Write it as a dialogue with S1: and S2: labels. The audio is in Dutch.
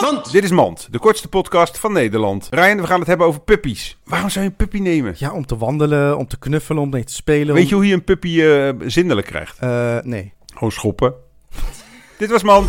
S1: Mand! Dit is Mand, de kortste podcast van Nederland. Ryan, we gaan het hebben over puppies. Waarom zou je een puppy nemen?
S2: Ja, om te wandelen, om te knuffelen, om mee te spelen.
S1: Weet je hoe je een puppy eh, zindelijk krijgt?
S2: om- Eh, nee.
S1: Gewoon schoppen. Dit was Mand.